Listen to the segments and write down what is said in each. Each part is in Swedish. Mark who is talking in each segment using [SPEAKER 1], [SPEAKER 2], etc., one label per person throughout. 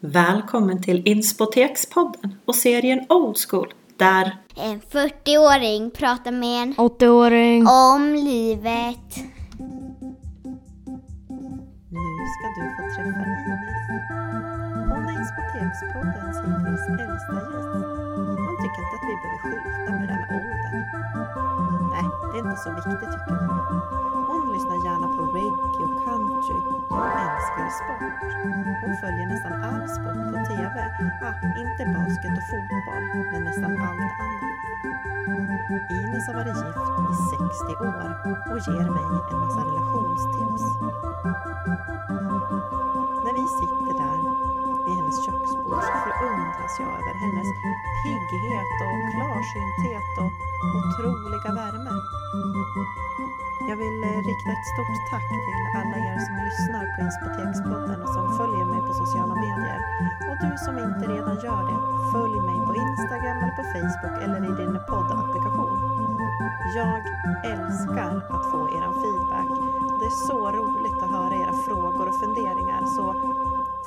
[SPEAKER 1] Välkommen till Inspotekspodden och serien Old School där
[SPEAKER 2] En 40-åring pratar med en
[SPEAKER 3] 80-åring.
[SPEAKER 2] om livet.
[SPEAKER 4] Nu ska du få träffa Ines. Hon är Inspotekspoddens hittills äldsta gäst. Hon tycker inte att vi behöver skylta med den åldern. Nej, det är inte så viktigt tycker hon. Hon lyssnar gärna på reggae och country och älskar sport. Hon följer nästan all sport på TV. Ah, inte basket och fotboll, men nästan allt annat. Ines har varit gift i 60 år och ger mig en massa relationstips. När vi sitter där vid hennes köksbord så förundras jag över hennes pigghet och klarsynthet och otroliga värme. Jag vill eh, rikta ett stort tack till alla er som lyssnar på Inspotekspodden och som följer mig på sociala medier. Och du som inte redan gör det, följ mig på Instagram eller på Facebook eller i din poddapplikation. Jag älskar att få er feedback. Det är så roligt att höra era frågor och funderingar så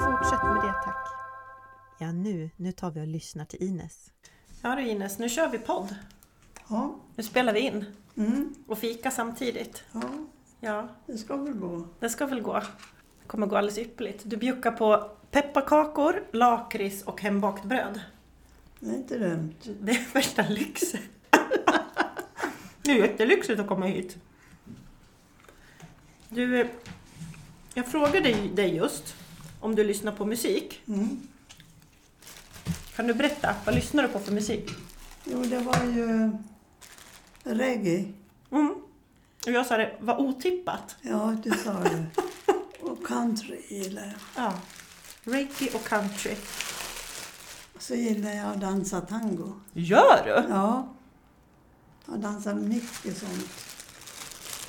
[SPEAKER 4] fortsätt med det tack. Ja nu, nu tar vi och lyssnar till Ines.
[SPEAKER 1] Ja du Ines, nu kör vi podd.
[SPEAKER 5] Ja,
[SPEAKER 1] Nu spelar vi in
[SPEAKER 5] mm,
[SPEAKER 1] och fika samtidigt.
[SPEAKER 5] ja,
[SPEAKER 1] Ja,
[SPEAKER 5] det ska väl gå.
[SPEAKER 1] det ska väl gå. Det kommer gå alldeles ypperligt. Du bjuckar på pepparkakor, lakrits och hembakt bröd.
[SPEAKER 5] Det är inte dumt.
[SPEAKER 1] Det är värsta lyxen. Det är jättelyxigt att komma hit. Du, eh, jag frågade ju dig just om du lyssnar på musik.
[SPEAKER 5] Mm.
[SPEAKER 1] Kan du berätta, vad lyssnar du på för musik?
[SPEAKER 5] Jo, det var ju reggae.
[SPEAKER 1] Mm. Och jag sa det, vad otippat.
[SPEAKER 5] Ja, du sa det. Och country gillar jag.
[SPEAKER 1] Ja. Reggae och country.
[SPEAKER 5] Så gillar jag att dansa tango.
[SPEAKER 1] Gör du?
[SPEAKER 5] Ja, jag dansar mycket sånt.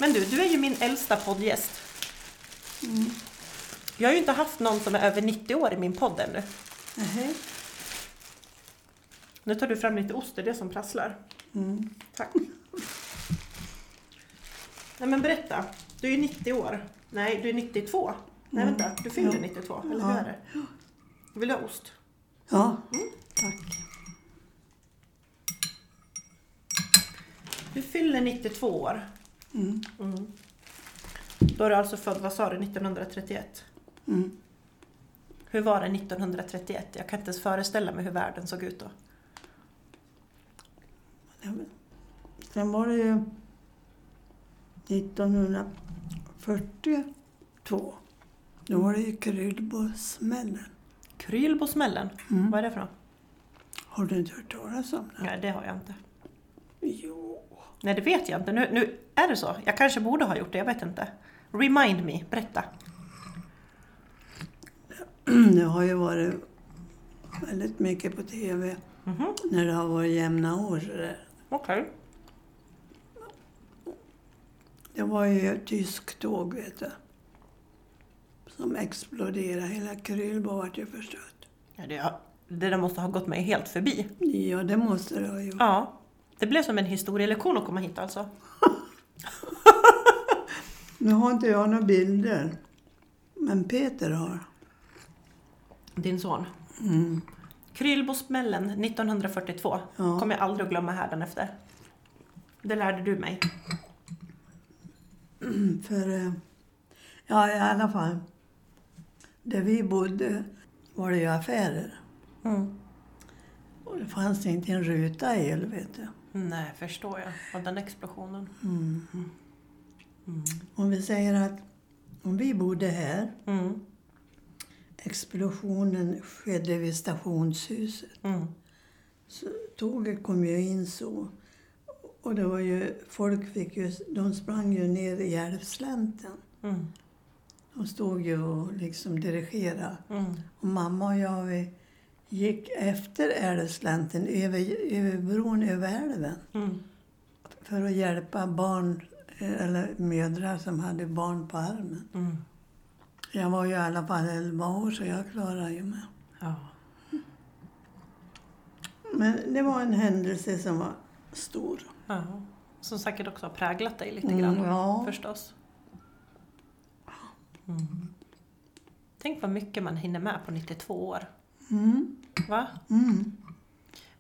[SPEAKER 1] Men du, du är ju min äldsta poddgäst.
[SPEAKER 5] Mm.
[SPEAKER 1] Jag har ju inte haft någon som är över 90 år i min podd ännu.
[SPEAKER 5] Nähä.
[SPEAKER 1] Nu tar du fram lite ost, det är det som prasslar.
[SPEAKER 5] Mm.
[SPEAKER 1] Tack. Nej men berätta, du är ju 90 år. Nej, du är 92. Nej
[SPEAKER 5] Mm.
[SPEAKER 1] vänta, du fyller
[SPEAKER 5] Ja.
[SPEAKER 1] 92, eller
[SPEAKER 5] Ja.
[SPEAKER 1] hur är det? Vill du ha ost?
[SPEAKER 5] Ja, tack.
[SPEAKER 1] Du fyller 92 år.
[SPEAKER 5] Mm.
[SPEAKER 1] Mm. Då är du alltså född, vad sa du, 1931?
[SPEAKER 5] Mm.
[SPEAKER 1] Hur var det 1931? Jag kan inte ens föreställa mig hur världen såg ut då.
[SPEAKER 5] Ja, men- Sen var det ju 1942. Då var det ju kryddbåssmällen.
[SPEAKER 1] Krylbosmällen,
[SPEAKER 5] Mm.
[SPEAKER 1] vad är det för något?
[SPEAKER 5] Har du inte hört talas om det?
[SPEAKER 1] Nej, det har jag inte.
[SPEAKER 5] Jo.
[SPEAKER 1] Nej, det vet jag inte. Nu, nu är det så. Jag kanske borde ha gjort det, jag vet inte. Remind me, berätta. Mm.
[SPEAKER 5] Det har ju varit väldigt mycket på tv
[SPEAKER 1] Mhm.
[SPEAKER 5] när det har varit jämna år. så där.
[SPEAKER 1] Okej.
[SPEAKER 5] Det var ju ett tyskt tåg, vet du. Som exploderade. Hela Krylbo vart ju förstört.
[SPEAKER 1] Ja, det, det där måste ha gått mig helt förbi.
[SPEAKER 5] Ja, det måste det ha gjort.
[SPEAKER 1] Ja. Det blev som en historielektion att komma hit alltså.
[SPEAKER 5] Nu har inte jag några bilder. Men Peter har.
[SPEAKER 1] Din son.
[SPEAKER 5] Mm.
[SPEAKER 1] Krylbosmällen 1942.
[SPEAKER 5] Ja.
[SPEAKER 1] Kommer jag aldrig att glömma hädanefter. Det lärde du mig.
[SPEAKER 5] För, eh, ja i alla fall. Där vi bodde var det ju affärer.
[SPEAKER 1] Mm.
[SPEAKER 5] Och det fanns inte en ruta el, vet du.
[SPEAKER 1] Nej, förstår jag. Av den explosionen.
[SPEAKER 5] Om vi säger att om vi bodde här,
[SPEAKER 1] Mm.
[SPEAKER 5] explosionen skedde vid stationshuset.
[SPEAKER 1] Mm.
[SPEAKER 5] Så tåget kom ju in så. Och det var ju, folk fick ju, de sprang ju ner i älvslänten.
[SPEAKER 1] Mm.
[SPEAKER 5] De stod ju och liksom dirigerade.
[SPEAKER 1] Mm.
[SPEAKER 5] Och mamma och jag, vi gick efter älvslänten, över, över bron över älven.
[SPEAKER 1] Mm.
[SPEAKER 5] För att hjälpa barn, eh, eller mödrar som hade barn på armen.
[SPEAKER 1] Mm.
[SPEAKER 5] Jag var ju i alla fall 11 år så jag klarade ju mig.
[SPEAKER 1] Ja.
[SPEAKER 5] Men det var en händelse som var stor.
[SPEAKER 1] ja. Som säkert också har präglat dig lite
[SPEAKER 5] Mm,
[SPEAKER 1] grann.
[SPEAKER 5] ja.
[SPEAKER 1] Förstås. Mm. Tänk vad mycket man hinner med på 92 år.
[SPEAKER 5] Mm.
[SPEAKER 1] Va?
[SPEAKER 5] Mm.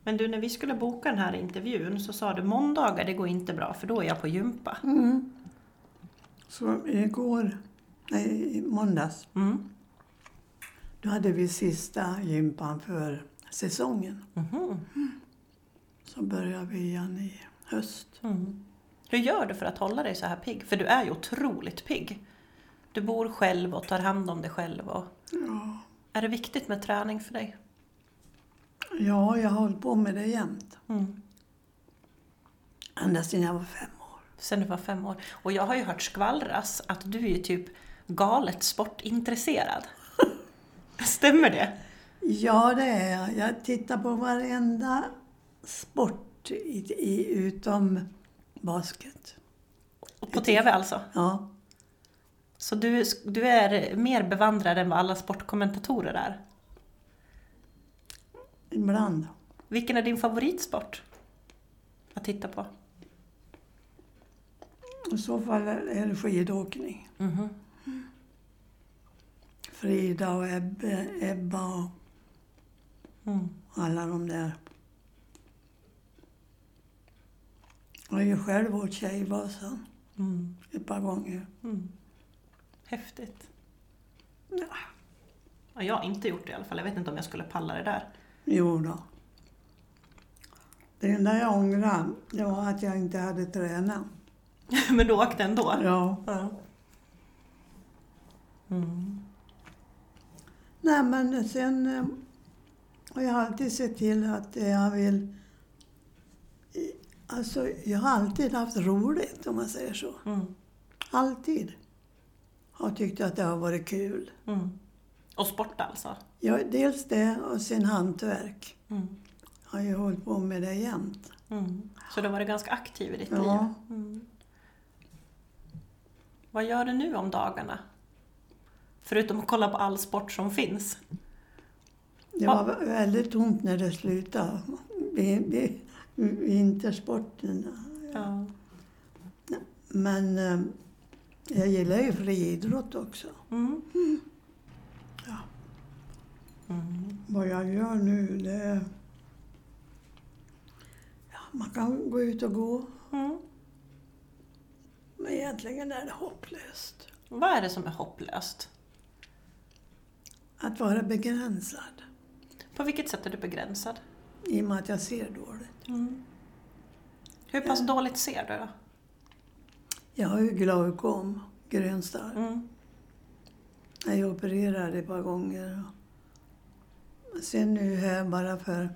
[SPEAKER 1] Men du, när vi skulle boka den här intervjun så sa du måndagar, det går inte bra för då är jag på gympa.
[SPEAKER 5] Mm. Så igår, nej i måndags,
[SPEAKER 1] Mm.
[SPEAKER 5] då hade vi sista gympan för säsongen.
[SPEAKER 1] Mhm.
[SPEAKER 5] Så börjar vi igen i höst.
[SPEAKER 1] Mm. Hur gör du för att hålla dig så här pigg? För du är ju otroligt pigg. Du bor själv och tar hand om dig själv. Och...
[SPEAKER 5] Ja,
[SPEAKER 1] Är det viktigt med träning för dig?
[SPEAKER 5] ja jag har hållit på med det jämt.
[SPEAKER 1] Mm.
[SPEAKER 5] Ända sedan jag var fem år.
[SPEAKER 1] Sen du var fem år. Och jag har ju hört skvallras att du är ju typ galet sportintresserad. Stämmer det?
[SPEAKER 5] Ja, det är jag. Jag tittar på varenda sport i, i, utom basket.
[SPEAKER 1] Och På TV alltså?
[SPEAKER 5] Ja,
[SPEAKER 1] Så du, du är mer bevandrad än vad alla sportkommentatorer är?
[SPEAKER 5] ibland.
[SPEAKER 1] Vilken är din favoritsport att titta på?
[SPEAKER 5] I så fall är det skidåkning.
[SPEAKER 1] Mm-hmm.
[SPEAKER 5] Frida och Ebbe, Ebba och
[SPEAKER 1] Mm.
[SPEAKER 5] alla de där. Jag har ju själv åkt Tjejvasan
[SPEAKER 1] Mm.
[SPEAKER 5] ett par gånger.
[SPEAKER 1] Mm. Häftigt.
[SPEAKER 5] Ja.
[SPEAKER 1] Ja, jag har inte gjort det i alla fall. Jag vet inte om jag skulle palla det där.
[SPEAKER 5] Jo då. Det enda jag ångrar, det var att jag inte hade tränat.
[SPEAKER 1] Men du åkte ändå?
[SPEAKER 5] Ja.
[SPEAKER 1] Ja. Mm.
[SPEAKER 5] Nej, men sen eh, har jag alltid sett till att det jag vill... i- Alltså, jag har alltid haft roligt, om man säger så.
[SPEAKER 1] Mm.
[SPEAKER 5] Alltid. Har tyckt att det har varit kul.
[SPEAKER 1] Mm. Och sport alltså?
[SPEAKER 5] Jag, dels det och sen hantverk.
[SPEAKER 1] Mm.
[SPEAKER 5] Har ju hållit på med det jämt.
[SPEAKER 1] Mm. Så du har varit ganska aktiv i ditt
[SPEAKER 5] Ja.
[SPEAKER 1] liv? Mm. Vad gör du nu om dagarna? Förutom att kolla på all sport som finns?
[SPEAKER 5] Det var vä- väldigt tomt när det slutade. Vi, vi, vintersporten.
[SPEAKER 1] Ja.
[SPEAKER 5] Men eh, jag gillar ju friidrott också.
[SPEAKER 1] Mm.
[SPEAKER 5] Ja.
[SPEAKER 1] Mm.
[SPEAKER 5] Vad jag gör nu, det är... Ja, man kan gå ut och gå,
[SPEAKER 1] Mm.
[SPEAKER 5] men egentligen är det hopplöst.
[SPEAKER 1] Vad är det som är hopplöst?
[SPEAKER 5] Att vara begränsad,
[SPEAKER 1] På vilket sätt är du begränsad?
[SPEAKER 5] i och med att jag ser dåligt.
[SPEAKER 1] Hur pass dåligt ser du då?
[SPEAKER 5] Jag har ju glaukom, grön starr.
[SPEAKER 1] Mm.
[SPEAKER 5] Jag är opererad ett par gånger. Och Sen nu här bara för,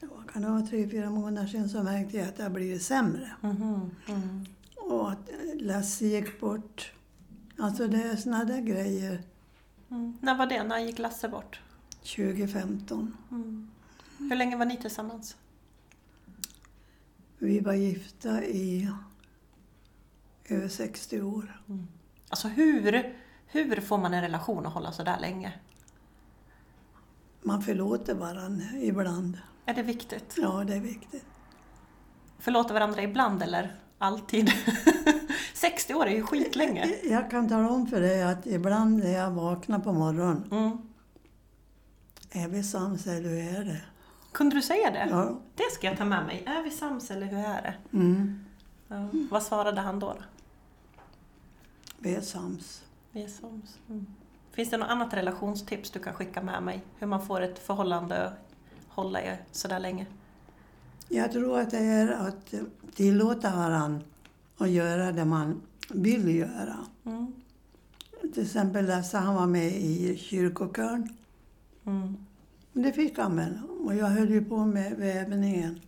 [SPEAKER 5] ja, vad kan det vara, tre, fyra månader sedan så märkte jag att det har blivit sämre.
[SPEAKER 1] Mhm. Mm.
[SPEAKER 5] Och att eh, Lasse gick bort. Alltså det är såna där grejer,
[SPEAKER 1] Mm. När var det? När gick Lasse bort?
[SPEAKER 5] 2015.
[SPEAKER 1] Hur länge var ni tillsammans?
[SPEAKER 5] Vi var gifta i över 60 år.
[SPEAKER 1] Alltså hur, hur får man en relation att hålla så där länge?
[SPEAKER 5] Man förlåter varandra ibland.
[SPEAKER 1] Är det viktigt?
[SPEAKER 5] Ja, det är viktigt.
[SPEAKER 1] Förlåta varandra ibland eller alltid? 60 år är ju skitlänge.
[SPEAKER 5] Jag kan tala om för dig att ibland när jag vaknar på morgonen,
[SPEAKER 1] Mm.
[SPEAKER 5] är vi sams eller hur är det?
[SPEAKER 1] Kunde du säga det?
[SPEAKER 5] Ja.
[SPEAKER 1] Det ska jag ta med mig. Är vi sams eller hur är det?
[SPEAKER 5] Mm.
[SPEAKER 1] Ja. Vad svarade han då? då?
[SPEAKER 5] Vi är sams.
[SPEAKER 1] Vi är sams. Mm. Finns det något annat relationstips du kan skicka med mig? Hur man får ett förhållande att hålla i sådär länge?
[SPEAKER 5] Jag tror att det är att tillåta varandra att göra det man vill göra.
[SPEAKER 1] Mm.
[SPEAKER 5] Till exempel Lasse, han var med i kyrkokörn.
[SPEAKER 1] Mm.
[SPEAKER 5] Det fick han väl. Och jag höll ju på med vävningen.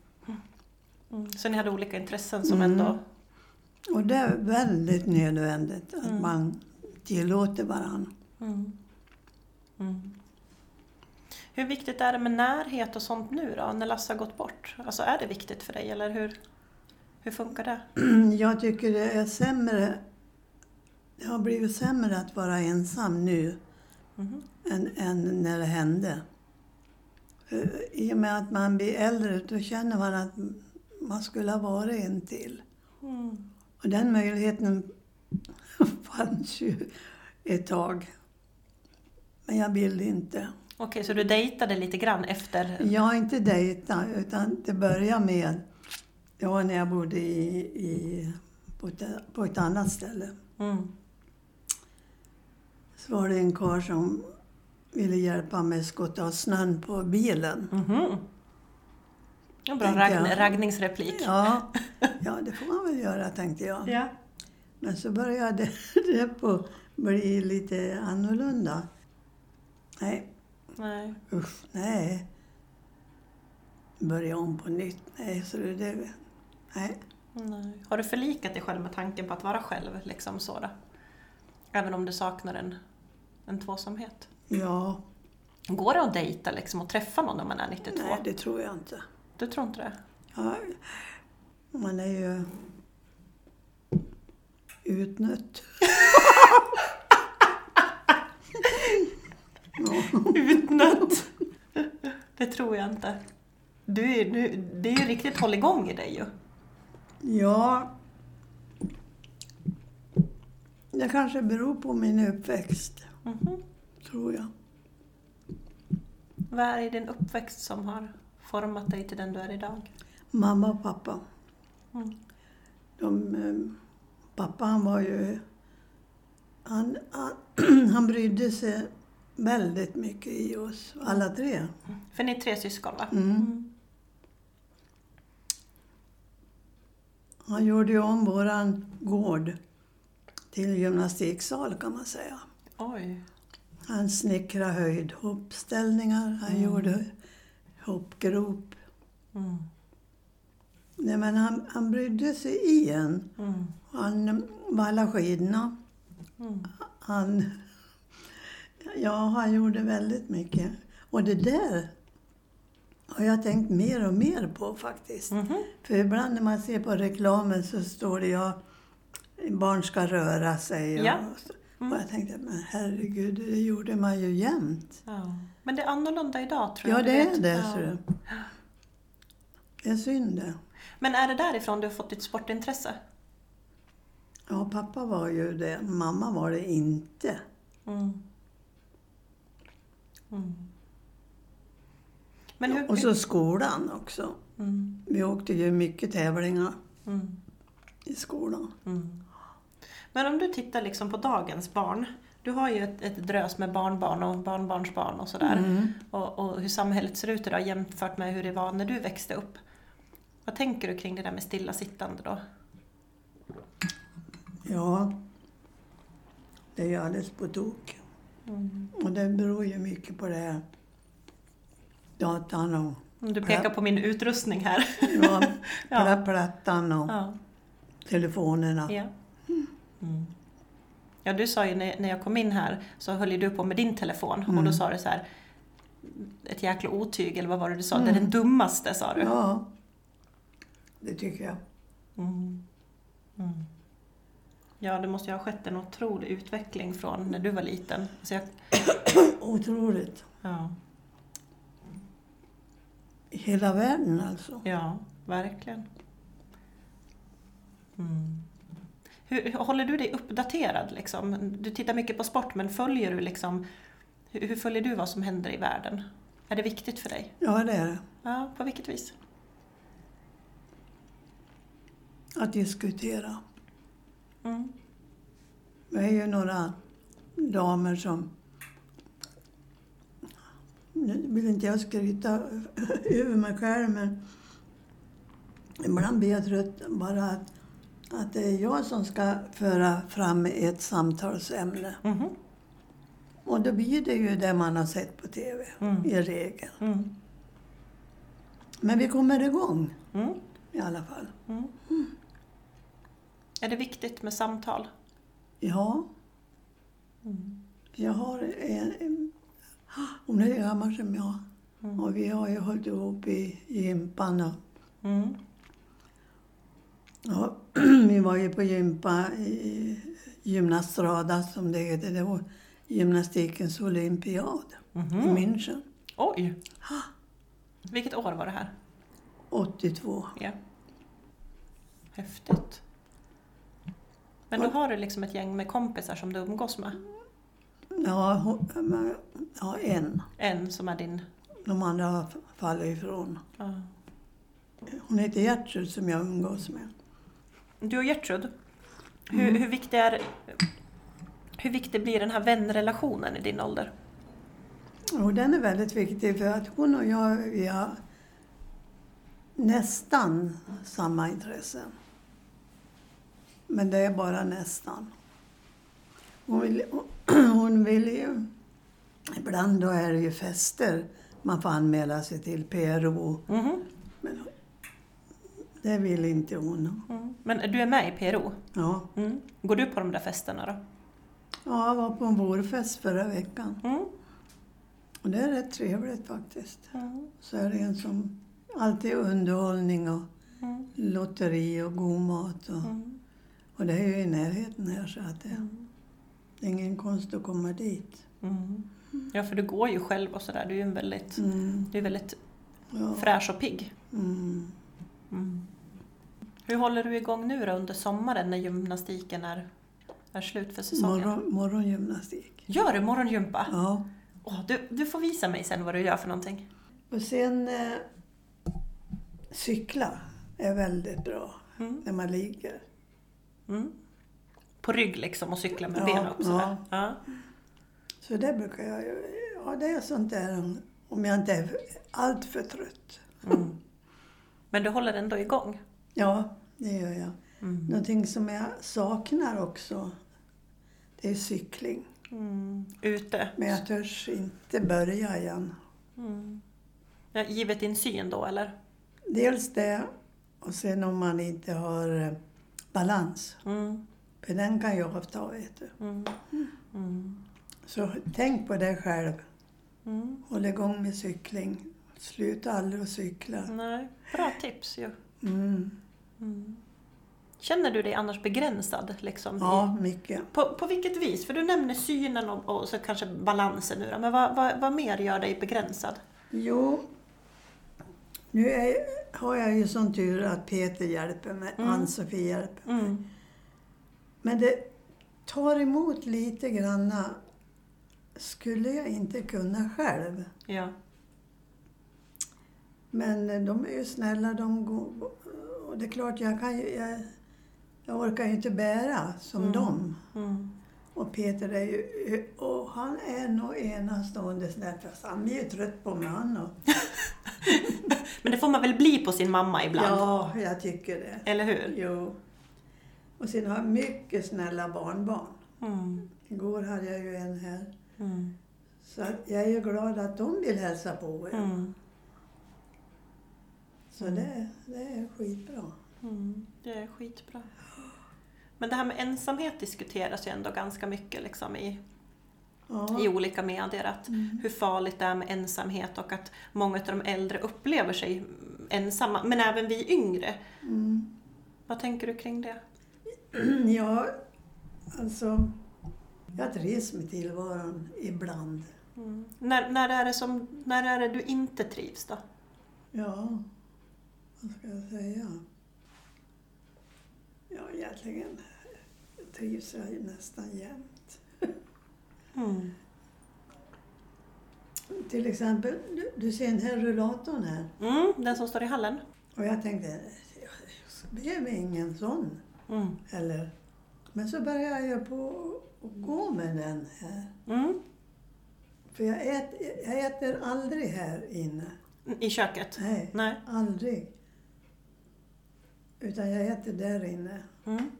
[SPEAKER 1] Mm. Så ni hade olika intressen som
[SPEAKER 5] Mm.
[SPEAKER 1] ändå...
[SPEAKER 5] Och det är väldigt nödvändigt att man tillåter varandra.
[SPEAKER 1] Mm. Mm. Hur viktigt är det med närhet och sånt nu då, när Lasse har gått bort? Alltså är det viktigt för dig eller hur, hur funkar det?
[SPEAKER 5] Jag tycker det är sämre... Det har blivit sämre att vara ensam nu
[SPEAKER 1] Mhm.
[SPEAKER 5] än, än när det hände. För I och med att man blir äldre då känner man att man skulle ha varit en till.
[SPEAKER 1] Mm.
[SPEAKER 5] Och den möjligheten fanns ju ett tag. Men jag ville inte.
[SPEAKER 1] Okej, så du dejtade lite grann efter?
[SPEAKER 5] Jag har inte dejtat, utan det började med... Det var när jag bodde i, i, på, ett, på ett annat ställe.
[SPEAKER 1] Mm.
[SPEAKER 5] Så var det en karl som ville hjälpa mig att skotta av snön på bilen.
[SPEAKER 1] Mhm. En bra
[SPEAKER 5] Tänkte
[SPEAKER 1] ragg-
[SPEAKER 5] jag.
[SPEAKER 1] raggningsreplik.
[SPEAKER 5] Ja, ja, det får man väl göra, tänkte jag.
[SPEAKER 1] Ja.
[SPEAKER 5] Men så började det på bli lite annorlunda. Nej,
[SPEAKER 1] Nej.
[SPEAKER 5] usch, nej. Börja om på nytt, nej, så det, det nej.
[SPEAKER 1] Nej. Har du förlikat dig själv med tanken på att vara själv? Liksom så då? Även om du saknar en, en tvåsamhet?
[SPEAKER 5] Ja,
[SPEAKER 1] Går det att dejta liksom, och träffa någon när man är 92?
[SPEAKER 5] nej, det tror jag inte.
[SPEAKER 1] Du tror inte det?
[SPEAKER 5] Ja, man är ju utnött.
[SPEAKER 1] Utnött! Det tror jag inte. Du är, du, det är ju riktigt hålligång i dig ju.
[SPEAKER 5] Ja, det kanske beror på min uppväxt,
[SPEAKER 1] Mhm.
[SPEAKER 5] tror jag.
[SPEAKER 1] Vad är det i din uppväxt som har format dig till den du är idag?
[SPEAKER 5] Mamma och pappa.
[SPEAKER 1] Mm.
[SPEAKER 5] De, eh, pappa han var ju... Han, han, han brydde sig väldigt mycket i oss, alla tre.
[SPEAKER 1] För ni är tre syskon va?
[SPEAKER 5] Mm. Han gjorde ju om våran gård till gymnastiksal kan man säga.
[SPEAKER 1] Oj.
[SPEAKER 5] Han snickrade höjdhoppställningar, han gjorde hoppgrop.
[SPEAKER 1] Mm.
[SPEAKER 5] Nej, men han, han brydde sig i en.
[SPEAKER 1] Mm.
[SPEAKER 5] Han vallade skidorna.
[SPEAKER 1] Mm.
[SPEAKER 5] Han, ja, han gjorde väldigt mycket. Och det där har jag tänkt mer och mer på faktiskt.
[SPEAKER 1] Mhm.
[SPEAKER 5] För ibland när man ser på reklamen så står det ja, barn ska röra sig. och-
[SPEAKER 1] Ja. Mm.
[SPEAKER 5] Och, jag tänkte, men herregud, det gjorde man ju jämt.
[SPEAKER 1] Ja. Men det är annorlunda idag tror
[SPEAKER 5] Ja,
[SPEAKER 1] jag. du
[SPEAKER 5] det är
[SPEAKER 1] vet.
[SPEAKER 5] det,
[SPEAKER 1] Ja.
[SPEAKER 5] ser du. Det är synd det.
[SPEAKER 1] Men är det därifrån du har fått ditt sportintresse?
[SPEAKER 5] Ja, pappa var ju det, mamma var det inte.
[SPEAKER 1] Mm. Mm. Men hur...
[SPEAKER 5] Och så skolan också.
[SPEAKER 1] Mm.
[SPEAKER 5] Vi åkte ju mycket tävlingar
[SPEAKER 1] Mm.
[SPEAKER 5] i skolan.
[SPEAKER 1] Mm. Men om du tittar liksom på dagens barn. Du har ju ett, ett drös med barnbarn och barnbarnsbarn och sådär.
[SPEAKER 5] Mm.
[SPEAKER 1] Och, och hur samhället ser ut idag jämfört med hur det var när du växte upp. Vad tänker du kring det där med stillasittande då?
[SPEAKER 5] Ja, det är ju alldeles på tok.
[SPEAKER 1] Mm.
[SPEAKER 5] Och det beror ju mycket på det här. Datan och
[SPEAKER 1] Om Du pekar på min utrustning här.
[SPEAKER 5] ja,
[SPEAKER 1] Ja.
[SPEAKER 5] pla- plattan och
[SPEAKER 1] Ja.
[SPEAKER 5] telefonerna.
[SPEAKER 1] Ja. Mm. ja, du sa ju när när jag kom in här så höll ju du på med din telefon och då sa du så här ett jäkla otyg eller vad var det du sa? Det är den dummaste sa du.
[SPEAKER 5] Ja, det tycker jag.
[SPEAKER 1] Mm. Mm. Ja, det måste ju ha skett en otrolig utveckling från när du var liten. Så jag,
[SPEAKER 5] Otroligt.
[SPEAKER 1] ja,
[SPEAKER 5] I hela världen alltså.
[SPEAKER 1] ja, verkligen. Mm. Hur, hur- håller du dig uppdaterad? Liksom? Du tittar mycket på sport, men följer du liksom, hur, hur följer du vad som händer i världen? Är det viktigt för dig?
[SPEAKER 5] Ja, det är det.
[SPEAKER 1] Ja, på vilket vis?
[SPEAKER 5] Att diskutera.
[SPEAKER 1] Mm.
[SPEAKER 5] Det är ju några damer som... Nu vill inte jag skryta över mig själv, men ibland blir jag trött bara att, att det är jag som ska föra fram ett samtalsämne.
[SPEAKER 1] Mhm.
[SPEAKER 5] Och då blir det ju det man har sett på TV,
[SPEAKER 1] Mm.
[SPEAKER 5] i regel.
[SPEAKER 1] Mm.
[SPEAKER 5] Men vi kommer igång
[SPEAKER 1] Mm.
[SPEAKER 5] i alla fall.
[SPEAKER 1] Mm. Är det viktigt med samtal?
[SPEAKER 5] Ja, jag har en... en hon är gammal som jag. Och vi har ju hållit ihop i gympan. Och,
[SPEAKER 1] Mm.
[SPEAKER 5] Ja, vi var ju på gympa i Gymnastrada som det heter. Det var gymnastikens olympiad i München
[SPEAKER 1] Oj! Vilket år var det här?
[SPEAKER 5] 82.
[SPEAKER 1] Ja. Häftigt. Men då har du liksom ett gäng med kompisar som du umgås med?
[SPEAKER 5] Ja, hon, men- ja, en.
[SPEAKER 1] En som är din...
[SPEAKER 5] De andra har fallit ifrån.
[SPEAKER 1] Ja.
[SPEAKER 5] Hon heter Gertrud som jag umgås med.
[SPEAKER 1] Du och Gertrud, hur, hur, viktig är, hur viktig blir den här vänrelationen i din ålder?
[SPEAKER 5] Och den är väldigt viktig för att hon och jag, vi har nästan samma intressen. Men det är bara nästan. Hon vill, hon vill ju... Ibland då är det ju fester man får anmäla sig till, PRO.
[SPEAKER 1] Mhm.
[SPEAKER 5] Men det vill inte hon.
[SPEAKER 1] Mm. Men du är med i PRO?
[SPEAKER 5] Ja,
[SPEAKER 1] Mm. Går du på de där festerna då?
[SPEAKER 5] ja jag var på en vårfest förra veckan.
[SPEAKER 1] Mm.
[SPEAKER 5] Och det är rätt trevligt faktiskt.
[SPEAKER 1] Mm.
[SPEAKER 5] Så är det en som alltid är underhållning och
[SPEAKER 1] Mm.
[SPEAKER 5] lotteri och god mat. Och,
[SPEAKER 1] Mm.
[SPEAKER 5] och det är ju i närheten här så att det, det är ingen konst att komma dit.
[SPEAKER 1] Mm. Ja, för du går ju själv och sådär. Du är ju en väldigt,
[SPEAKER 5] Mm,
[SPEAKER 1] du är väldigt
[SPEAKER 5] ja,
[SPEAKER 1] fräsch och pigg.
[SPEAKER 5] mm.
[SPEAKER 1] Hur håller du igång nu då under sommaren när gymnastiken är, är slut för säsongen?
[SPEAKER 5] Morgon, morgongymnastik.
[SPEAKER 1] Gör du morgongympa?
[SPEAKER 5] Ja.
[SPEAKER 1] Åh, du, du får visa mig sen vad du gör för någonting.
[SPEAKER 5] Och sen eh, cykla är väldigt bra
[SPEAKER 1] Mm.
[SPEAKER 5] när man ligger.
[SPEAKER 1] Mm. På rygg liksom och cykla med
[SPEAKER 5] Ja,
[SPEAKER 1] benen upp
[SPEAKER 5] ja.
[SPEAKER 1] sådär. Ja.
[SPEAKER 5] Så det brukar jag ju- Ja, det är sånt där om- om jag inte är allt för trött.
[SPEAKER 1] Mm. Men du håller ändå igång?
[SPEAKER 5] Ja, det gör jag.
[SPEAKER 1] Mm.
[SPEAKER 5] Någonting som jag saknar också, det är cykling.
[SPEAKER 1] Mm. Ute?
[SPEAKER 5] Men jag törs inte börja igen.
[SPEAKER 1] Mm. Ja, givet din syn då eller?
[SPEAKER 5] Dels det, och sen om man inte har eh, balans.
[SPEAKER 1] Mm.
[SPEAKER 5] För den kan jag avta, vet du.
[SPEAKER 1] Mm. Mm.
[SPEAKER 5] Så tänk på det själv.
[SPEAKER 1] Mm.
[SPEAKER 5] Håll igång med cykling. Sluta aldrig att cykla.
[SPEAKER 1] Nej, bra tips ju.
[SPEAKER 5] Mm.
[SPEAKER 1] Mm. Känner du dig annars begränsad? Liksom, i-
[SPEAKER 5] Ja, mycket.
[SPEAKER 1] På, på vilket vis? För du nämner synen och, och så kanske balansen nu då, men vad, vad, vad mer gör dig begränsad?
[SPEAKER 5] Jo, nu är, har jag ju sån tur att Peter hjälper mig,
[SPEAKER 1] Mm.
[SPEAKER 5] Ann-Sofie hjälper mig.
[SPEAKER 1] Mm.
[SPEAKER 5] Men det tar emot lite granna. Skulle jag inte kunna själv.
[SPEAKER 1] Ja.
[SPEAKER 5] Men eh, de är ju snälla, de går, och det är klart jag kan ju, jag, jag orkar ju inte bära som
[SPEAKER 1] Mm.
[SPEAKER 5] dem.
[SPEAKER 1] Mm.
[SPEAKER 5] Och Peter är ju, och han är nog enastående snäll fast han är ju trött på mig han och,
[SPEAKER 1] Men det får man väl bli på sin mamma ibland?
[SPEAKER 5] Ja, jag tycker det.
[SPEAKER 1] Eller hur?
[SPEAKER 5] Jo. Och sen har jag mycket snälla barnbarn.
[SPEAKER 1] Mm.
[SPEAKER 5] Igår hade jag ju en här.
[SPEAKER 1] Mm.
[SPEAKER 5] Så att jag är ju glad att de vill hälsa på en.
[SPEAKER 1] Mm.
[SPEAKER 5] Så det, det är skitbra.
[SPEAKER 1] Mm. Det är skitbra. Men det här med ensamhet diskuteras ju ändå ganska mycket liksom i,
[SPEAKER 5] Ja. Mm.
[SPEAKER 1] i olika medier. Att Hur farligt det är med ensamhet och att många av de äldre upplever sig ensamma, men även vi yngre.
[SPEAKER 5] Mm.
[SPEAKER 1] Vad tänker du kring det?
[SPEAKER 5] ja, alltså. Jag trivs med tillvaron ibland.
[SPEAKER 1] Mm. När, när, är det som, när är det du inte trivs då?
[SPEAKER 5] Ja, vad ska jag säga? Ja, egentligen trivs jag ju nästan jämt.
[SPEAKER 1] Mm.
[SPEAKER 5] Till exempel, du, du ser den här rullatorn här.
[SPEAKER 1] Mm, den som står i hallen?
[SPEAKER 5] Och jag tänkte, jag behöver ingen sån.
[SPEAKER 1] Mm.
[SPEAKER 5] Eller, men så började jag på att gå med den här.
[SPEAKER 1] Mm.
[SPEAKER 5] För jag äter, jag äter aldrig här inne.
[SPEAKER 1] I köket?
[SPEAKER 5] Nej,
[SPEAKER 1] Nej.
[SPEAKER 5] aldrig. Utan jag äter där inne.
[SPEAKER 1] Mm.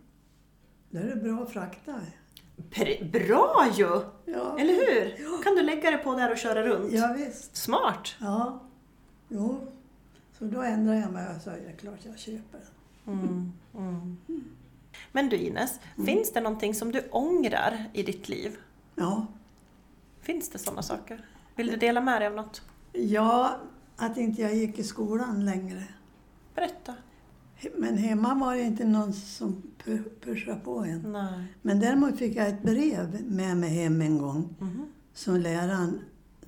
[SPEAKER 5] Där är det bra att frakta.
[SPEAKER 1] Pre- Bra ju!
[SPEAKER 5] Ja,
[SPEAKER 1] Eller hur? Kan du lägga dig på där och köra runt?
[SPEAKER 5] ja visst.
[SPEAKER 1] Smart!
[SPEAKER 5] Ja, jo. Så då ändrade jag mig och sa, ja klart jag köper den.
[SPEAKER 1] Men du Ines,
[SPEAKER 5] Mm.
[SPEAKER 1] finns det någonting som du ångrar i ditt liv?
[SPEAKER 5] Ja.
[SPEAKER 1] Finns det sådana saker? Vill du dela med dig av något?
[SPEAKER 5] ja, att inte jag gick i skolan längre.
[SPEAKER 1] Berätta.
[SPEAKER 5] He- Men hemma var det inte någon som pu- pushade på en.
[SPEAKER 1] Nej.
[SPEAKER 5] Men däremot fick jag ett brev med mig hem en gång
[SPEAKER 1] Mhm.
[SPEAKER 5] som läraren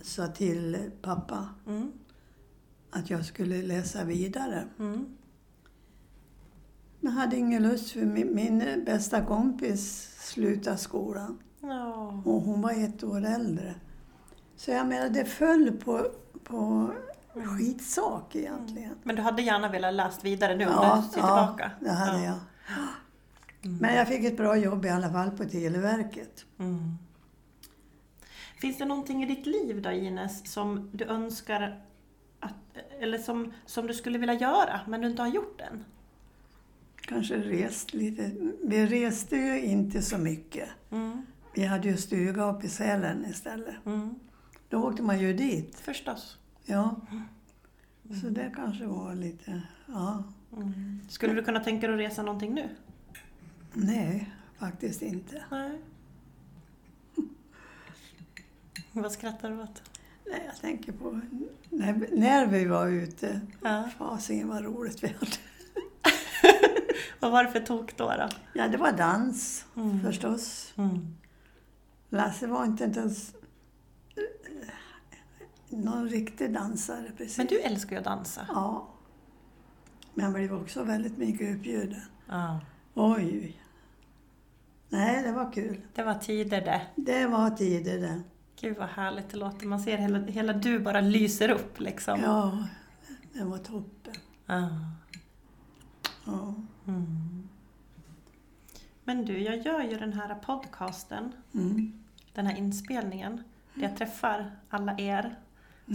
[SPEAKER 5] sa till pappa
[SPEAKER 1] Mm.
[SPEAKER 5] att jag skulle läsa vidare.
[SPEAKER 1] Mm.
[SPEAKER 5] Men jag hade ingen lust för min, min bästa kompis slutade skolan.
[SPEAKER 1] Ja, Ja.
[SPEAKER 5] och hon var ett år äldre. Så jag menar, det föll på, på skitsak egentligen.
[SPEAKER 1] Men du hade gärna velat läst vidare nu om
[SPEAKER 5] Ja,
[SPEAKER 1] du ser tillbaka?
[SPEAKER 5] Ja, det hade jag. Men jag fick ett bra jobb i alla fall på Televerket.
[SPEAKER 1] Mm. Finns det någonting i ditt liv då Ines som du önskar att, eller som, som du skulle vilja göra men du inte har gjort än?
[SPEAKER 5] Kanske rest lite. Vi reste ju inte så mycket.
[SPEAKER 1] Mm.
[SPEAKER 5] Vi hade ju stuga uppe i Sälen istället.
[SPEAKER 1] Mm.
[SPEAKER 5] Då åkte man ju dit.
[SPEAKER 1] Förstås.
[SPEAKER 5] Ja.
[SPEAKER 1] Mm.
[SPEAKER 5] Så det kanske var lite... Ja.
[SPEAKER 1] Mm. Skulle du kunna tänka dig att resa någonting nu?
[SPEAKER 5] Nej, faktiskt inte.
[SPEAKER 1] Nej. Vad skrattar du åt?
[SPEAKER 5] Nej, jag tänker på när, när vi var ute.
[SPEAKER 1] Ja.
[SPEAKER 5] Fasen vad roligt vi hade.
[SPEAKER 1] Vad var det för tok då? då?
[SPEAKER 5] Ja, det var dans
[SPEAKER 1] Mm.
[SPEAKER 5] förstås.
[SPEAKER 1] Mm.
[SPEAKER 5] Lasse var inte ens eh, någon riktig dansare precis.
[SPEAKER 1] Men du älskar ju att dansa.
[SPEAKER 5] Ja. Men han blev också väldigt mycket uppbjuden.
[SPEAKER 1] Ja.
[SPEAKER 5] Oj, oj. Nej, det var kul.
[SPEAKER 1] Det var tider det.
[SPEAKER 5] Det var tider det.
[SPEAKER 1] Gud vad härligt det låter. Man ser hela, hela du bara lyser upp liksom. Ah.
[SPEAKER 5] Ja, det var toppen.
[SPEAKER 1] Ja.
[SPEAKER 5] Ja.
[SPEAKER 1] Mm. Men du, jag gör ju den här podcasten,
[SPEAKER 5] Mm.
[SPEAKER 1] den här inspelningen, där jag träffar alla er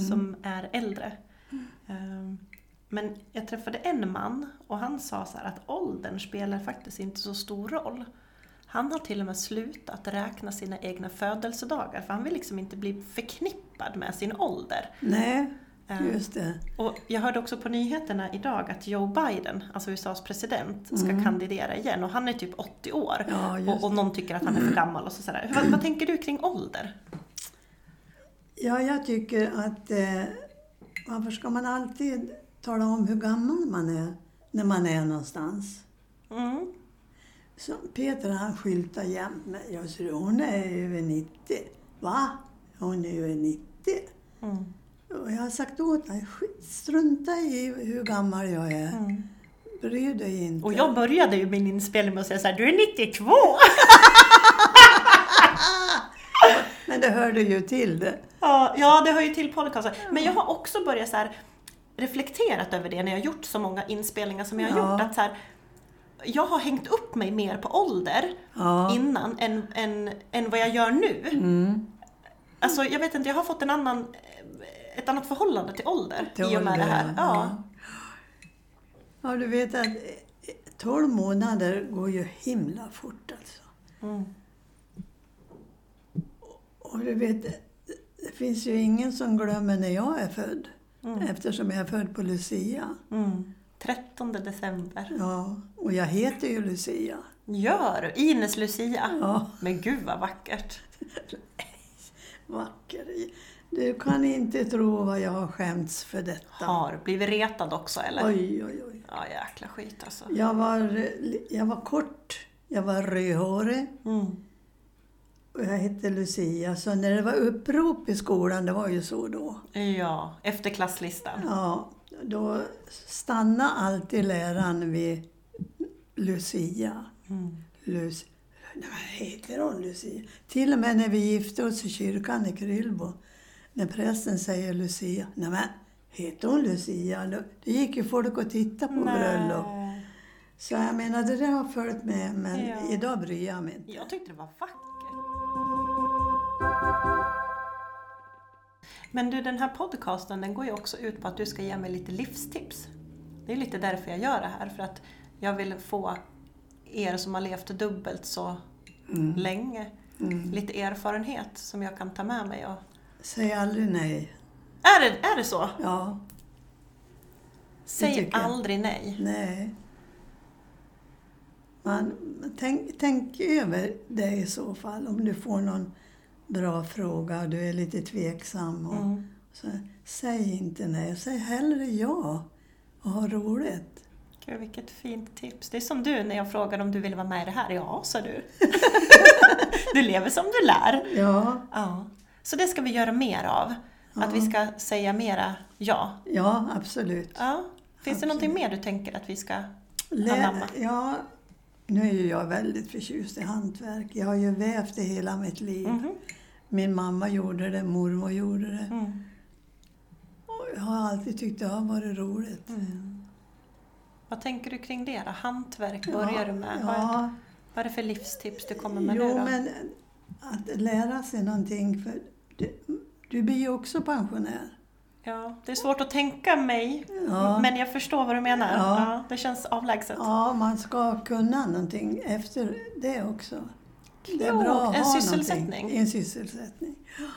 [SPEAKER 1] som är äldre. Ehm, Men jag träffade en man och han sa så här att åldern spelar faktiskt inte så stor roll. Han har till och med slutat räkna sina egna födelsedagar för han vill liksom inte bli förknippad med sin ålder.
[SPEAKER 5] Nej,
[SPEAKER 1] Ehm,
[SPEAKER 5] just det.
[SPEAKER 1] och jag hörde också på nyheterna idag att Joe Biden, alltså USAs president, ska kandidera igen och han är typ 80 år.
[SPEAKER 5] Mm. Ja, just Mm.
[SPEAKER 1] och, och någon tycker att han är för gammal och så sådär. Hur- Vad, vad tänker du kring ålder?
[SPEAKER 5] Ja, jag tycker att eh, varför ska man alltid tala om hur gammal man är när man är någonstans?
[SPEAKER 1] Mm.
[SPEAKER 5] Så Peter han skyltar jämt med. Jag säger hon är över 90. Va? Hon är över 90.
[SPEAKER 1] Mm.
[SPEAKER 5] Och jag har sagt åt honom, "Skit- strunta i hur gammal jag är.
[SPEAKER 1] Mm.
[SPEAKER 5] Bry dig inte.
[SPEAKER 1] Och jag började ju min inspelning med att säga såhär, du är 92!
[SPEAKER 5] Men det hörde ju till det.
[SPEAKER 1] Ja, ja, det hör ju till podcasten. Men jag har också börjat så här reflekterat över det när jag har gjort så många inspelningar som jag har
[SPEAKER 5] Ja.
[SPEAKER 1] gjort. Att så här, jag har hängt upp mig mer på ålder
[SPEAKER 5] Ja. Mm.
[SPEAKER 1] innan än, än, än vad jag gör nu. Alltså, jag vet inte, jag har fått en annan, eh, ett annat förhållande till ålder
[SPEAKER 5] Till
[SPEAKER 1] i och med det
[SPEAKER 5] ålder,
[SPEAKER 1] här. Ja.
[SPEAKER 5] Ja, du vet att eh, 12 månader går ju himla fort alltså.
[SPEAKER 1] Mm.
[SPEAKER 5] Och du vet, eh, det finns ju ingen som glömmer när jag är född. Eftersom jag är född på Lucia.
[SPEAKER 1] Mm. 13 december.
[SPEAKER 5] Ja, och jag heter ju Lucia.
[SPEAKER 1] Gör Ines Lucia.
[SPEAKER 5] Ja,
[SPEAKER 1] Men gud vad vackert.
[SPEAKER 5] vacker. Du kan inte tro vad jag har skämts för detta.
[SPEAKER 1] Har blivit retad också eller?
[SPEAKER 5] Oj, oj, oj.
[SPEAKER 1] Ja, jäkla skit alltså.
[SPEAKER 5] Jag var, eh, jag var kort, jag var rödhårig
[SPEAKER 1] Mm.
[SPEAKER 5] och jag hette Lucia. Så när det var upprop i skolan, det var ju så då.
[SPEAKER 1] Ja, efter klasslistan.
[SPEAKER 5] Ja, då stannade alltid läraren vid Lucia.
[SPEAKER 1] Mm.
[SPEAKER 5] Lus... Nej, Vad heter hon Lucia? Till och med när vi gifte oss i kyrkan i Krylbo. När prästen säger Lucia. Nej men, heter hon Lucia? Då- Det gick ju folk och tittade på bröllop. Så jag menar, det där har följt med. Men
[SPEAKER 1] Ja.
[SPEAKER 5] idag bryr jag mig inte.
[SPEAKER 1] Jag tyckte det var vackert. Men du, den här podcasten den går ju också ut på att du ska ge mig lite livstips. Det är lite därför jag gör det här, för att jag vill få er som har levt dubbelt så
[SPEAKER 5] Mm.
[SPEAKER 1] länge lite erfarenhet som jag kan ta med mig. Och...
[SPEAKER 5] Säg aldrig nej.
[SPEAKER 1] Är, det, är det så?
[SPEAKER 5] Ja,
[SPEAKER 1] Säg
[SPEAKER 5] tycker jag.
[SPEAKER 1] aldrig nej.
[SPEAKER 5] nej. Man, tänk, tänk över det i så fall. Om du får någon bra fråga och du är lite tveksam. Och,
[SPEAKER 1] Mm.
[SPEAKER 5] Så, säg inte nej, säg hellre ja och ha roligt.
[SPEAKER 1] Gud, vilket fint tips. Det är som du när jag frågade om du ville vara med i det här. Ja, sa du. du lever som du lär.
[SPEAKER 5] Ja,
[SPEAKER 1] Ja. Så det ska vi göra mer av. Att vi ska säga mera ja.
[SPEAKER 5] ja absolut.
[SPEAKER 1] ja. Finns det någonting mer du tänker att vi ska
[SPEAKER 5] Lä,
[SPEAKER 1] anamma?
[SPEAKER 5] ja, Nu är ju jag väldigt förtjust i hantverk. Jag har ju vävt i hela mitt liv.
[SPEAKER 1] Mhm.
[SPEAKER 5] Min mamma gjorde det, mormor gjorde det.
[SPEAKER 1] Mm.
[SPEAKER 5] Och jag har alltid tyckt det har varit roligt.
[SPEAKER 1] Mm. Vad tänker du kring det då? Hantverk
[SPEAKER 5] Ja,
[SPEAKER 1] börjar du med. Vad, är,
[SPEAKER 5] Ja,
[SPEAKER 1] vad är det för livstips du kommer med
[SPEAKER 5] jo,
[SPEAKER 1] nu då?
[SPEAKER 5] men att lära sig någonting. För du, du blir ju också pensionär.
[SPEAKER 1] Ja, det är svårt att tänka mig,
[SPEAKER 5] Ja.
[SPEAKER 1] men jag förstår vad du menar.
[SPEAKER 5] Ja.
[SPEAKER 1] Ja, det känns avlägset.
[SPEAKER 5] Ja, man ska kunna någonting efter det också. Det är
[SPEAKER 1] Klokt,
[SPEAKER 5] bra att
[SPEAKER 1] en
[SPEAKER 5] ha
[SPEAKER 1] sysselsättning.
[SPEAKER 5] någonting. En sysselsättning.
[SPEAKER 1] Bra!
[SPEAKER 5] Ja,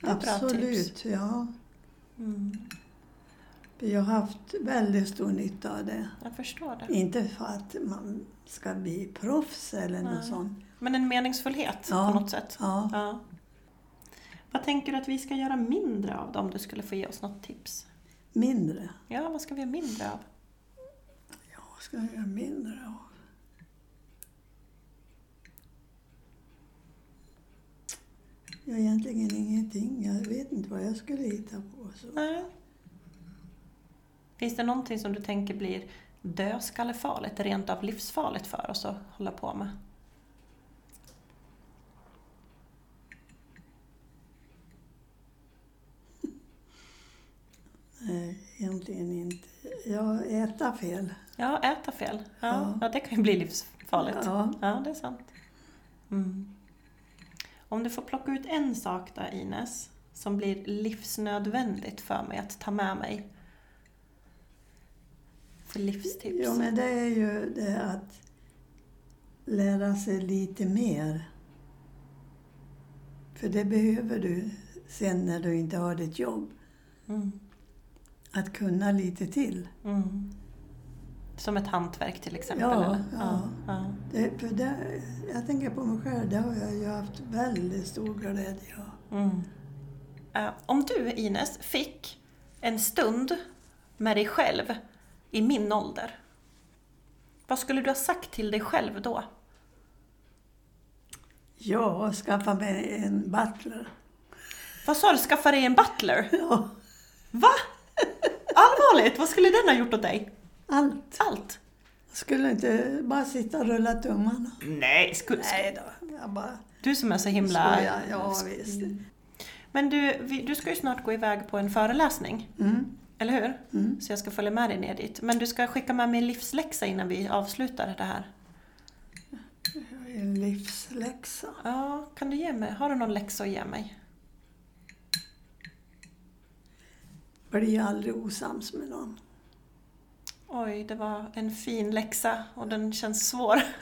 [SPEAKER 1] Det är bra
[SPEAKER 5] absolut. Ja.
[SPEAKER 1] Mm,
[SPEAKER 5] Vi har haft väldigt stor nytta av det.
[SPEAKER 1] jag förstår det.
[SPEAKER 5] Inte för att man ska bli proffs eller något
[SPEAKER 1] Nej.
[SPEAKER 5] sånt.
[SPEAKER 1] Men en meningsfullhet
[SPEAKER 5] Ja.
[SPEAKER 1] på något sätt.
[SPEAKER 5] Ja.
[SPEAKER 1] Ja. Vad tänker du att vi ska göra mindre av då, om du skulle få ge oss något tips?
[SPEAKER 5] Mindre.
[SPEAKER 1] Ja, vad ska vi göra mindre av?
[SPEAKER 5] Ja, vad ska jag göra mindre av? Jag egentligen ingenting. Jag vet inte vad jag skulle hitta på. Så.
[SPEAKER 1] Nej. Finns det någonting som du tänker blir dödskallefarligt, rent av livsfarligt för oss att hålla på med?
[SPEAKER 5] Nej, egentligen inte. Jag äta fel.
[SPEAKER 1] Ja, äta fel. Ja,
[SPEAKER 5] Ja.
[SPEAKER 1] ja. det kan ju bli livsfarligt.
[SPEAKER 5] Ja.
[SPEAKER 1] Ja, det är sant. Mm. Om du får plocka ut en sak då, Ines, som blir livsnödvändigt för mig att ta med mig. För livstips.
[SPEAKER 5] Jo, men det är ju det att lära sig lite mer. För det behöver du sen när du inte har ditt jobb.
[SPEAKER 1] Mm.
[SPEAKER 5] Att kunna lite till.
[SPEAKER 1] Mm. Som ett hantverk till exempel?
[SPEAKER 5] Ja,
[SPEAKER 1] eller?
[SPEAKER 5] ja.
[SPEAKER 1] ja.
[SPEAKER 5] Det, för det, jag tänker på mig själv, det har jag ju haft väldigt stor glädje av.
[SPEAKER 1] Mm. Eh, om du, Ines, fick en stund med dig själv i min ålder, vad skulle du ha sagt till dig själv då?
[SPEAKER 5] Ja, och skaffa mig en butler.
[SPEAKER 1] Vad sa du, skaffa dig en butler?
[SPEAKER 5] Ja,
[SPEAKER 1] Va? Allvarligt, vad skulle den ha gjort åt dig?
[SPEAKER 5] allt.
[SPEAKER 1] Allt?
[SPEAKER 5] Jag skulle inte bara sitta och rulla tummarna.
[SPEAKER 1] Nej, skulle...
[SPEAKER 5] Nej då, jag bara
[SPEAKER 1] Du som är så himla...
[SPEAKER 5] skojar. Ja, visst.
[SPEAKER 1] Men du, vi, du ska ju snart gå iväg på en föreläsning,
[SPEAKER 5] Mm.
[SPEAKER 1] eller hur?
[SPEAKER 5] Mm.
[SPEAKER 1] Så jag ska följa med dig ner dit. Men du ska skicka med mig livsläxa innan vi avslutar det här.
[SPEAKER 5] Jag är en livsläxa.
[SPEAKER 1] Ja, kan du ge mig? Har du någon läxa att ge mig?
[SPEAKER 5] Bli aldrig osams med någon.
[SPEAKER 1] Oj, det var en fin läxa och den känns svår.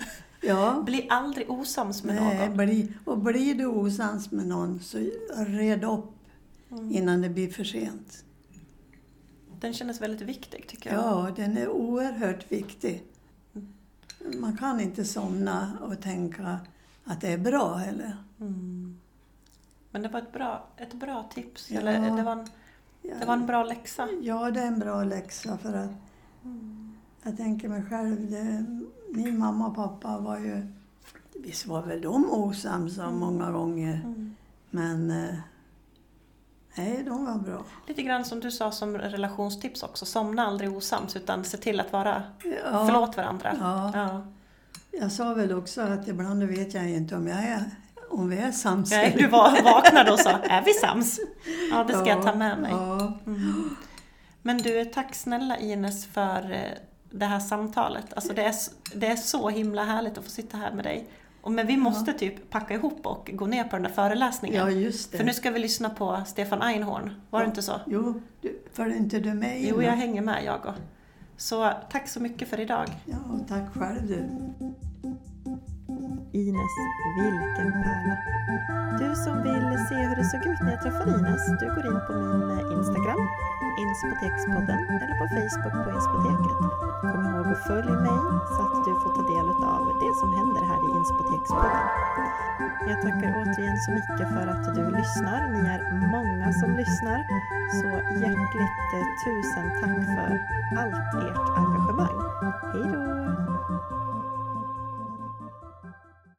[SPEAKER 5] Ja.
[SPEAKER 1] Bli aldrig osams med
[SPEAKER 5] Nej,
[SPEAKER 1] någon.
[SPEAKER 5] bli, och blir du osams med någon så red upp innan det blir för sent.
[SPEAKER 1] Den kändes väldigt viktig tycker jag.
[SPEAKER 5] Ja, den är oerhört viktig. Man kan inte somna och tänka att det är bra heller.
[SPEAKER 1] Mm. Men det var ett bra, ett bra tips.
[SPEAKER 5] Ja.
[SPEAKER 1] Eller, det, var en,
[SPEAKER 5] Ja,
[SPEAKER 1] det var en bra läxa.
[SPEAKER 5] ja, det är en bra läxa för att jag tänker mig själv, det, min mamma och pappa var ju, visst var väl de osams många gånger,
[SPEAKER 1] Mm.
[SPEAKER 5] men eh, nej, de var bra.
[SPEAKER 1] Lite grann som du sa som relationstips också. Somna aldrig osams utan se till att vara
[SPEAKER 5] Ja.
[SPEAKER 1] förlåt varandra.
[SPEAKER 5] Ja.
[SPEAKER 1] Ja.
[SPEAKER 5] Jag sa väl också att ibland vet jag inte om, jag är, om vi är sams.
[SPEAKER 1] Nej, du var, vaknade och sa, är vi sams? Ja, det ska jag ta med mig.
[SPEAKER 5] Ja,
[SPEAKER 1] Mm. Men du, tack snälla Ines för eh, det här samtalet. Alltså det, är, s- det är så himla härligt att få sitta här med dig. Och, men vi måste typ packa ihop och gå ner på den där föreläsningen.
[SPEAKER 5] ja just det.
[SPEAKER 1] för nu ska vi lyssna på Stefan Einhorn, var det inte så?
[SPEAKER 5] Jo, du, följer inte du med in
[SPEAKER 1] Jo,
[SPEAKER 5] då?
[SPEAKER 1] jag hänger med jag och. Så tack så mycket för idag.
[SPEAKER 5] Ja, tack själv du.
[SPEAKER 4] Ines, vilken pärla! Du som vill se hur det såg ut när jag träffade Ines, du går in på min eh, Instagram, Inspotekspodden, eller på Facebook på Inspoteket. Kom ihåg att följa mig så att du får ta del av det som händer här i Inspotekspodden. Jag tackar återigen så mycket för att du lyssnar. Ni är många som lyssnar. Så hjärtligt eh, tusen tack för allt ert engagemang. Hej då!